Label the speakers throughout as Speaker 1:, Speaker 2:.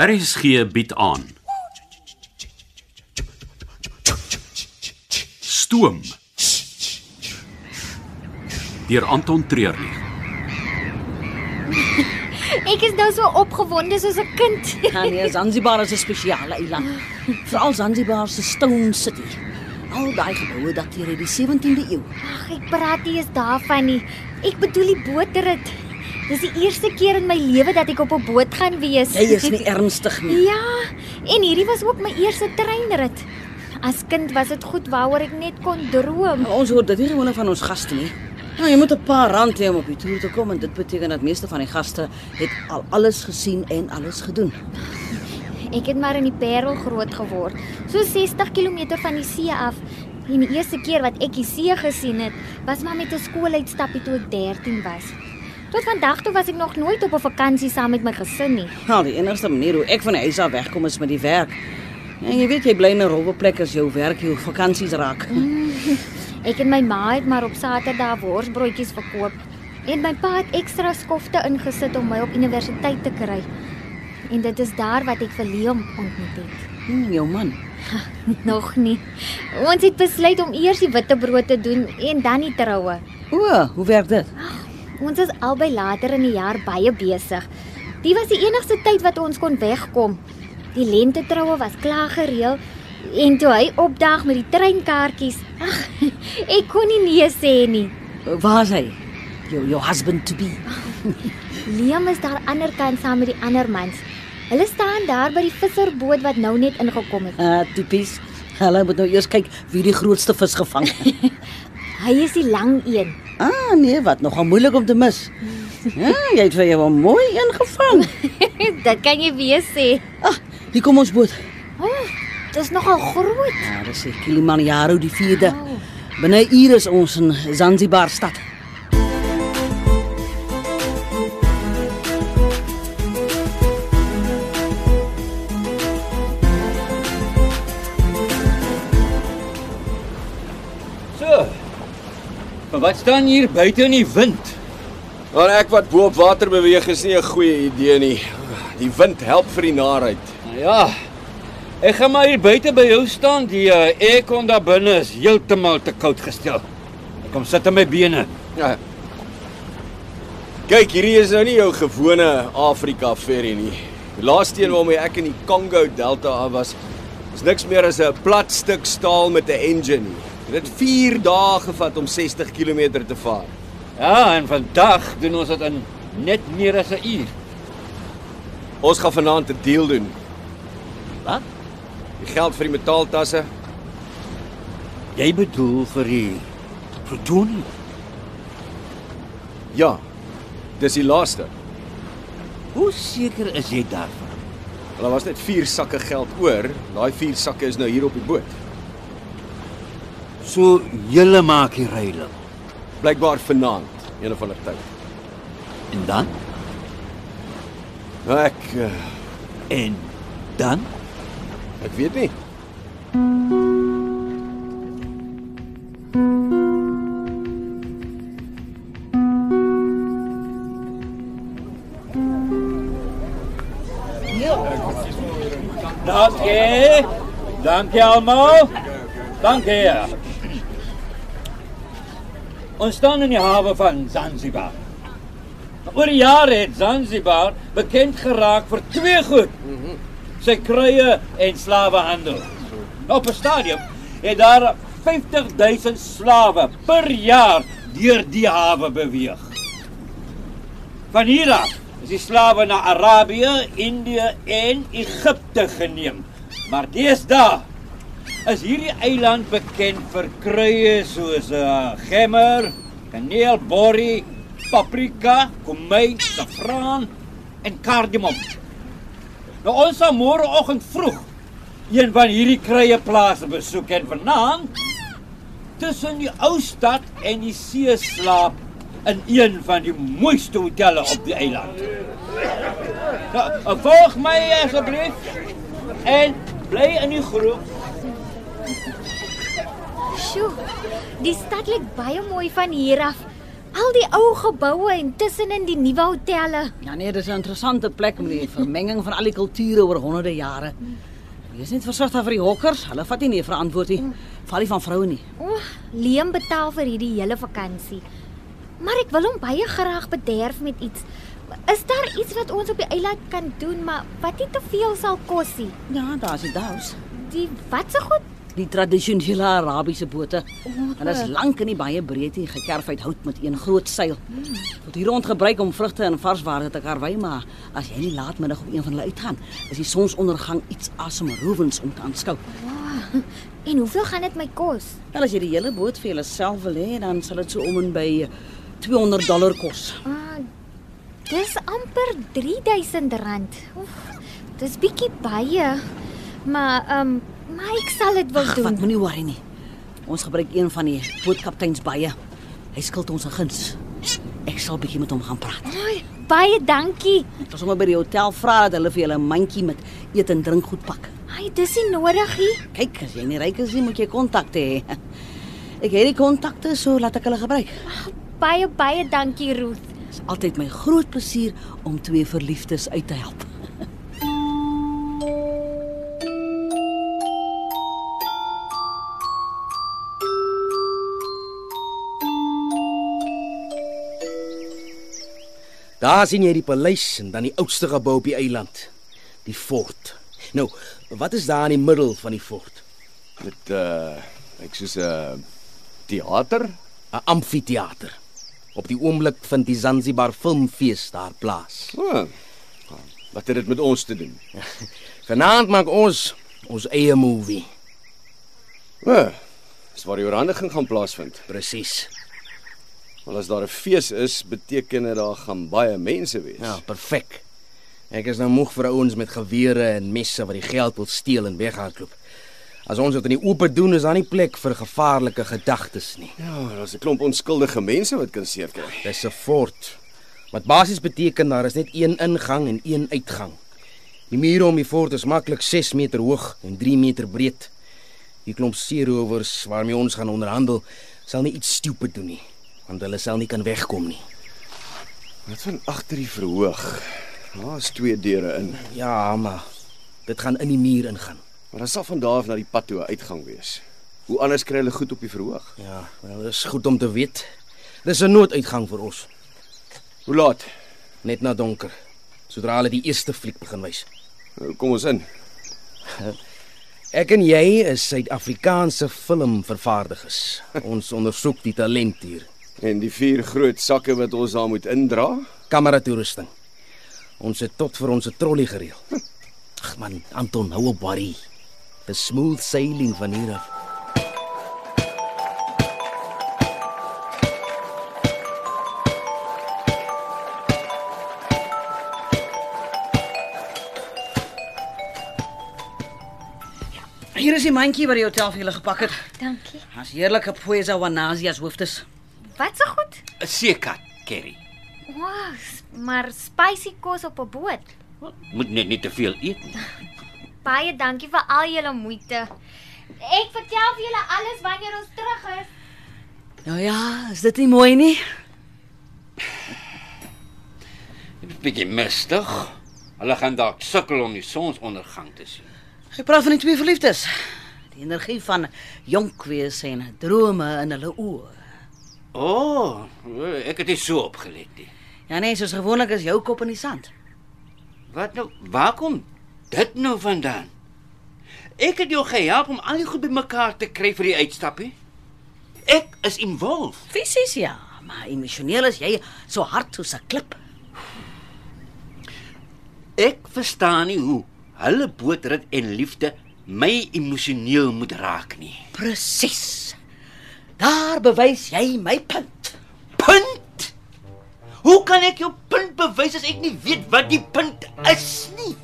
Speaker 1: RSG bied aan. Stoom. Deur Anton Treurnig.
Speaker 2: Ek is nou so opgewonde soos 'n kind.
Speaker 3: Ja, nee, Zanzibar is 'n spesiale eiland. Veral Zanzibar se Stone City. Al daai geboue dateer uit die 17de eeu.
Speaker 2: Ag, ek praat nie eens daarvan nie. Ek bedoel die bootrit. Dis die eerste keer in my lewe dat ek op 'n boot gaan wees.
Speaker 3: Jy is nie ernstig nie.
Speaker 2: Ja, en hierdie was ook my eerste treinrit. As kind was dit goed waaroor ek net kon droom.
Speaker 3: Ons hoor dit nie gewoonlik van ons gaste nie. Nou, jy moet 'n paar rand hê om op die toer te kom en dit beteken dat meeste van die gaste het al alles gesien en alles gedoen.
Speaker 2: Ek het maar in die Parel groot geword, so 60 km van die see af. En die eerste keer wat ek die see gesien het, was maar met 'n skooluitstappie toe ek 13 was. Tot vandag toe was ek nog nooit op 'n vakansie saam met my gesin nie.
Speaker 3: Nou, die enigste manier hoe ek van die huis af wegkom is met die werk. En jy weet jy bly in 'n rowwe plek as jou werk jou vakansies raak.
Speaker 2: Ek en my ma het maar op Saterdag worsbroodjies verkoop en my pa het ekstra skofte ingesit om my op universiteit te kry. En dit is daar wat ek vir Liam ontmoet het.
Speaker 3: Hmm, jou man.
Speaker 2: Nog nie. Ons het besluit om eers die witbrood te doen en dan die troue.
Speaker 3: O, hoe werk dit?
Speaker 2: Ons is albei later in die jaar baie besig. Dit was die enigste tyd wat ons kon wegkom. Die lente troue was klaar gereël en toe hy opdag met die treinkaartjies, ag, ek kon nie nee sê nie.
Speaker 3: Waar is hy? Jou jou husband to be.
Speaker 2: Liam is daar ander kant saam met die ander mans. Hulle staan daar by die visserboot wat nou net ingekom het.
Speaker 3: Ah, tipies. Hulle moet nou eers kyk wie die grootste vis gevang het.
Speaker 2: Hy is die lang een.
Speaker 3: ah, nee, wat nogal moeilik om te mis. Ja, jy het vir jou 'n mooi een gevang.
Speaker 2: Dit kan jy weer sê.
Speaker 3: Ag, hier kom ons boot.
Speaker 2: Oh, dis nogal groot.
Speaker 3: Ja, dis die Kilimanjaro die 4de.
Speaker 2: Oh.
Speaker 3: Binne 'n uur is ons in Zanzibar stad.
Speaker 4: So. Maar wat staan hier buite in die wind?
Speaker 5: Maar ek wat bo op water beweeg is nie 'n goeie idee nie. Die wind help vir die narigheid.
Speaker 4: Nou ja. Ek gaan maar hier buite by jou staan. Die uh, aircon daar binne is heeltemal te koud gestel. Ek kom sit in my bene.
Speaker 5: Ja. Kyk, hierdie is nou nie jou gewone Afrika ferry nie. Die laaste een waarmee ek in die Congo Delta af was, is niks meer as 'n plat stuk staal met 'n engine nie. Dit het 4 dae gevat om 60 km te vaar.
Speaker 4: Ja, en vandag doen ons dit in net meer as 'n uur.
Speaker 5: Ons gaan vanaand 'n deal doen.
Speaker 4: Wat?
Speaker 5: Die geld vir die metaaltasse,
Speaker 4: Jy bedoel vir die Protoni?
Speaker 5: ja. Dis die laaste.
Speaker 4: Hoe seker is jy daarvan?
Speaker 5: Hulle was net 4 sakke geld oor. Daai 4 sakke is nou hier op die boot.
Speaker 4: So julle maak die reëling.
Speaker 5: Blykbaar vanaand, een of ander tyd.
Speaker 4: En dan?
Speaker 5: Nou ek eh,
Speaker 4: En dan?
Speaker 5: ek weet nie.
Speaker 4: Dankie. Dankie almal. Dankie. ja. Ons staan in die hawe van Zanzibar. Oor die jare het Zanzibar bekend geraak vir twee goed. Sy kruie en slawehandel. Op 'n stadium het daar 50000 slawe per jaar deur die hawe beweeg. Van hier af is die slawe na Arabië, Indië en Egipte geneem. Maar deesdae is hierdie eiland bekend vir kruie soos uh, gemmer, kaneel, borrie, paprika, komyn, saffraan en kardemom. Nou ons sal môreoggend vroeg een van hierdie kruie plase besoek en vanaand tussen die ou stad en die see slaap in een van die mooiste hotelle op die eiland. Nou, volg my asseblief en bly in die groep.
Speaker 2: Sjoe. Die stad lyk baie mooi van hier af. Al die ou geboue en tussenin die nuwe hotelle.
Speaker 3: Ja nee, dis 'n interessante plek met die vermenging van al die kulture oor honderde jare. Wees net versigtig daar vir die hokkers. Hulle vat nie nee vir antwoord nie. Val nie van vroue nie.
Speaker 2: O, oh, Leem betaal vir hierdie hele vakansie. Maar ek wil hom baie graag bederf met iets. Is daar iets wat ons op die eiland kan doen, maar wat nie te veel sal kos nie?
Speaker 3: Ja, daar's die daus.
Speaker 2: Die watse goed?
Speaker 3: Die tradisionele Arabiese bote.
Speaker 2: O,
Speaker 3: Hulle is lank in die baie breed en gekerf uit hout met een groot seil. Word hier rond gebruik om vrugte en varsware te karwei, maar as jy nie laatmiddag op een van hulle uitgaan, is die sonsondergang iets asemrowends om te aanskou.
Speaker 2: Ah, En hoeveel gaan dit my kos?
Speaker 3: Wel as jy die hele boot vir jouself wil hê, dan sal dit so om en by 200 dollar kos.
Speaker 2: Ah, dis amper R3000. Oef, Dis bietjie baie. Maar ehm um, maar ek sal dit wil
Speaker 3: Ag,
Speaker 2: doen.
Speaker 3: wat moenie worry nie. Ons gebruik een van die bootkapteins baie. Hy skuld ons 'n guns. Ek sal bietjie met hom gaan praat.
Speaker 2: Oei, baie dankie.
Speaker 3: Ek sal sommer by die hotel vra dat hulle vir julle 'n mandjie met eet en drink goed pak.
Speaker 2: Ai, dis nie nodig nie.
Speaker 3: Kyk, as jy nie ryk is nie, moet jy kontakte hê. Ek het die kontakte, so laat ek hulle gebruik.
Speaker 2: Baie baie dankie, Ruth.
Speaker 3: Dit is altyd my groot plesier om twee verliefdes uit te help.
Speaker 6: Daar sien jy die paleis en dan die oudste gebou op die eiland, die fort. Nou, wat is daar in die middel van die fort?
Speaker 5: Dit uh ek soos 'n uh, teater.
Speaker 6: 'n Amfitheater. Op die oomblik vind die Zanzibar Filmfees daar plaas.
Speaker 5: Oh. Wat het dit met ons te doen?
Speaker 6: Vanaand maak ons ons eie movie.
Speaker 5: Uh, dis waar die oorhandiging gaan plaasvind.
Speaker 6: Presies.
Speaker 5: Maar as daar 'n fees is, beteken dit daar gaan baie mense wees.
Speaker 6: Ja, perfek. Ek is nou moeg vir ouens met gewere en messe wat die geld wil steel en weghardloop. As ons dit in die oop doen, is daar nie plek vir gevaarlike gedagtes nie.
Speaker 5: ja daar's 'n klomp onskuldige mense wat kan seer kry.
Speaker 6: Dis 'n fort. Wat basies beteken daar is net een ingang en een uitgang. Die mure om die fort is maklik 6 meter hoog en 3 meter breed. Die klomp seerowers waarmee ons gaan onderhandel, sal nie iets stupid doen nie, want hulle sal nie kan wegkom nie.
Speaker 5: Wat van agter die verhoog? Daar's twee deure in,
Speaker 6: Ja, maar dit gaan in die muur ingaan.
Speaker 5: maar daar sal van daar af na die pad toe 'n uitgang wees. Hoe anders kry hulle goed op die verhoog?
Speaker 6: Ja, wel, dit is goed om te weet. Dis 'n nooduitgang vir ons,
Speaker 5: Hoe laat?
Speaker 6: net na donker, sodra hulle die eerste fliek begin wys.
Speaker 5: Nou, Kom ons in.
Speaker 6: Ek en jy is Suid-Afrikaanse filmvervaardigers. Ons ondersoek die talent hier.
Speaker 5: En die vier groot sakke wat ons daar moet indra?
Speaker 6: Kameratoerusting. Ons het tot vir ons 'n trolly gereël. Ag man, Anton, hou op worry. The smooth sailing van hier af.
Speaker 3: Hier is die mandjie wat die hotel vir julle gepak het.
Speaker 2: Dankie.
Speaker 3: As heerlike poeza wanazi as hoofdes.
Speaker 2: Wat se goed?
Speaker 7: Seekat, Kerry.
Speaker 2: Wow, s- maar spicy kos op 'n boot.
Speaker 7: Moet net nie te veel eet nie.
Speaker 2: Baie dankie vir al julle moeite. Ek vertel vir julle alles wanneer ons terug is.
Speaker 3: Nou ja, is dit nie mooi nie?
Speaker 7: Dit is bietjie mistig. Hulle gaan dalk sukkel om die sonsondergang te sien.
Speaker 3: Ek praat van die twee verliefdes. Die energie van jonk wees en drome in hulle oë.
Speaker 7: O, oh, ek het dit so opgelet. Die.
Speaker 3: Ja nee, soos gewoonlik is jou kop in die sand.
Speaker 7: Wat nou? Waar kom dit nou vandaan? Ek het jou gehelp om al die goed bymekaar te kry vir die uitstappie. Ek is involved.
Speaker 3: Fisies ja, maar emosioneel is jy so hard soos 'n klip.
Speaker 7: Ek verstaan nie hoe hulle bootrit en liefde my emosioneel moet raak nie.
Speaker 3: Presies. Daar bewys jy my punt.
Speaker 7: Punt. Hoe kan ek jou punt bewys as ek nie weet wat die punt is nie?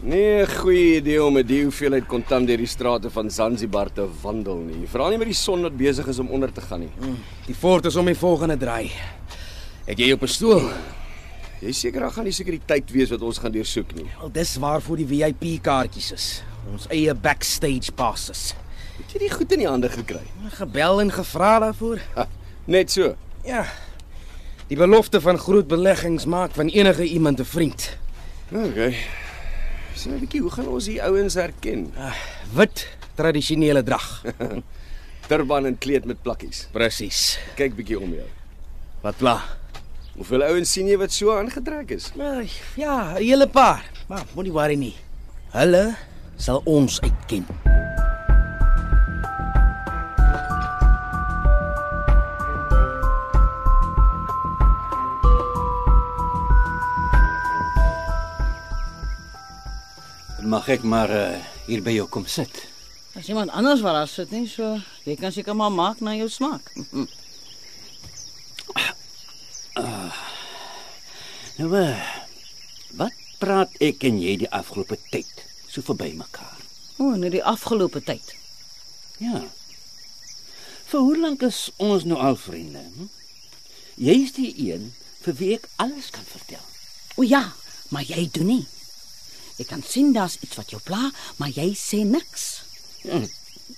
Speaker 5: Nee, goeie idee om met die hoeveelheid kontant deur die strate van Zanzibar te wandel nie. Vra nie met die son wat besig is om onder te gaan nie.
Speaker 6: Die fort is om die volgende draai. Het jy jou pistool?
Speaker 5: Jy is seker daar gaan nie sekuriteit wees wat ons gaan deursoek nie.
Speaker 6: Al dis waarvoor die VIP kaartjies is. Ons eie backstage passes.
Speaker 5: Het jy die goed in die hande gekry?
Speaker 6: Gebel en gevra daarvoor.
Speaker 5: Net so.
Speaker 6: Ja. Die belofte van groot beleggings maak van enige iemand 'n vriend.
Speaker 5: Okay. Sien 'n bietjie hoe gaan ons die ouens herken?
Speaker 6: Wit, tradisionele drag.
Speaker 5: Turban en kleed met plakkies.
Speaker 6: Presies.
Speaker 5: Kyk bietjie om jou.
Speaker 6: Wat pla?
Speaker 5: Hoeveel ouens sien jy wat so aangetrek is?
Speaker 6: Nou, ja, 'n hele paar. Maar moenie worry nie. Hulle sal ons uitken.
Speaker 7: Mag ek maar
Speaker 6: eh,
Speaker 7: uh, hier by jou kom sit?
Speaker 3: As iemand anders waar daar sit nie, so jy kan seker maar maak na jou smaak.
Speaker 7: Nou,
Speaker 6: eh,
Speaker 7: uh, wat praat ek en jy die afgelope tyd so verby mekaar?
Speaker 3: O, net die afgelope tyd.
Speaker 7: Ja. Vir hoe lank is ons nou al vriende? Hm? Jy is die een vir wie ek alles kan vertel.
Speaker 3: O ja, maar jy doen nie. Ek kan sien daar's iets wat jou pla, maar jy sê niks.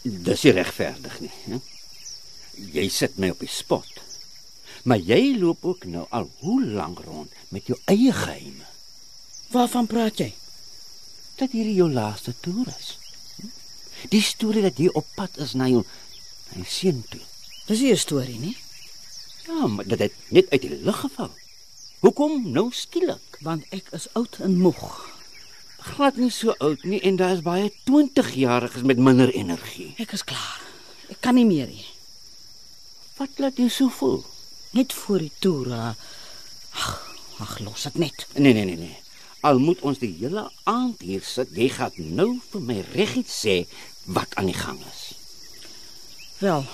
Speaker 7: Dis nie regverdig nie, hè? Jy sit my op die spot. Maar jy loop ook nou al hoe lank rond met jou eie geheime.
Speaker 3: Waarvan praat jy?
Speaker 7: Dat hierdie jou laaste toer is. hm? Die storie dat jy op pad is na jou na jou seun toe.
Speaker 3: Dis nie 'n storie nie,
Speaker 7: Ja, maar dit het net uit die lug geval. Hoekom nou skielik?
Speaker 3: want ek is oud en moeg.
Speaker 7: glad nie so oud nie en daar is baie 20-jariges met minder energie.
Speaker 3: Ek is klaar. Ek kan nie meer nie.
Speaker 7: Wat laat jou so voel?
Speaker 3: Net voor die toer. ah. Ag, ag los dit net.
Speaker 7: Nee nee nee nee. Al moet ons die hele aand hier sit, jy gaan nou vir my reguit sê wat aan die gang is.
Speaker 3: Wel.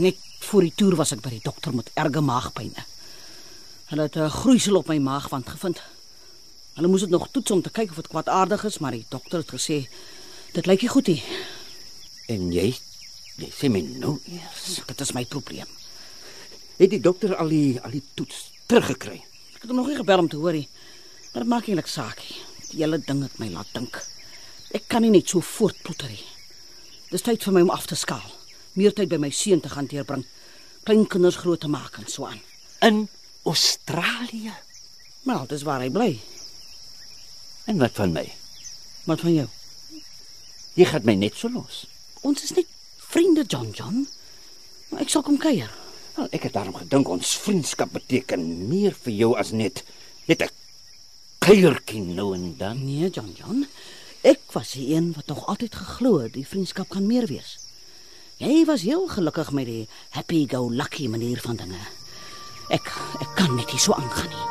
Speaker 3: Net voor die toer was ek by die dokter met erge maagpyne. Hulle het 'n groeisel op my maagwand gevind. Hulle moes dit nog toets om te kyk of dit kwaadaardig is, maar die dokter het gesê dit lyk nie goed nie.
Speaker 7: En jy jy sê my nou eers.
Speaker 3: Dit is my probleem.
Speaker 7: Het die dokter al die al die toets teruggekry?
Speaker 3: Ek het hom nog nie gebel om te hoor nie. Maar dit maak eintlik saak nie. Die hele ding het my laat dink. Ek kan nie net so voortploeter nie. Dis tyd vir my om af te skaal. Meer tyd by my seun te gaan deurbring. Kleinkinders groot te maak en so aan.
Speaker 7: In Australië.
Speaker 3: Maar dis waar hy bly.
Speaker 7: En wat van my?
Speaker 3: Wat van jou?
Speaker 7: Jy gaan my net so los.
Speaker 3: Ons is net vriende, John John. Maar ek sal kom kuier.
Speaker 7: Wel, ek het daarom gedink ons vriendskap beteken meer vir jou as net net 'n kuiertjie nou en dan.
Speaker 3: Nee, John John. Ek was die een wat nog altyd geglo het die vriendskap kan meer wees. Jy was heel gelukkig met die happy go lucky manier van dinge. Ek ek kan net nie so aangaan nie.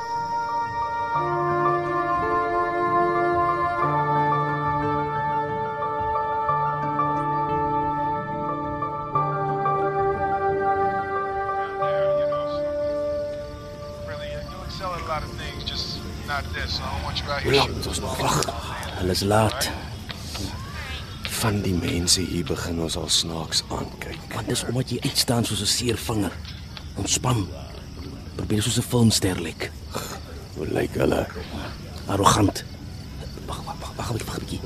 Speaker 8: there, you know. So, really, you'll excel at a lot of things, just not this. I don't want you out here shooting.
Speaker 5: ons nog wag? Hulle is laat. Van die mense hier begin ons al snaaks aankyk.
Speaker 6: Want dis omdat jy uitstaan soos 'n seer vinger. Ontspan. Probeer soos 'n filmster lyk.
Speaker 5: Hoe lyk hulle?
Speaker 6: Arrogant. Wag, wag, wag, wag 'n bietjie, wag 'n bietjie.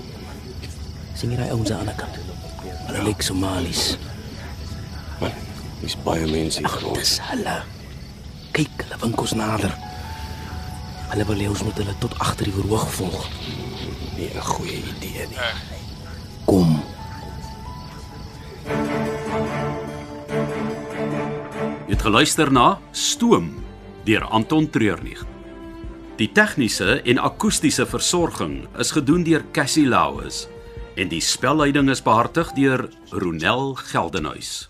Speaker 6: Sien jy daai ouens aan die ander kant? Hulle lyk Somaliërs.
Speaker 5: Man, dis baie mense hier rond.
Speaker 6: Dis hulle. Kyk, hulle wink ons nader. Hulle wil hê ons moet hulle tot agter die verhoog volg.
Speaker 5: Nie 'n goeie idee nie.
Speaker 6: Kom.
Speaker 1: Jy het geluister na Stoom deur Anton Treurnig. Die tegniese en akoestiese versorging is gedoen deur Cassie Lauis en die spelleiding is behartig deur Ronel Geldenhuys.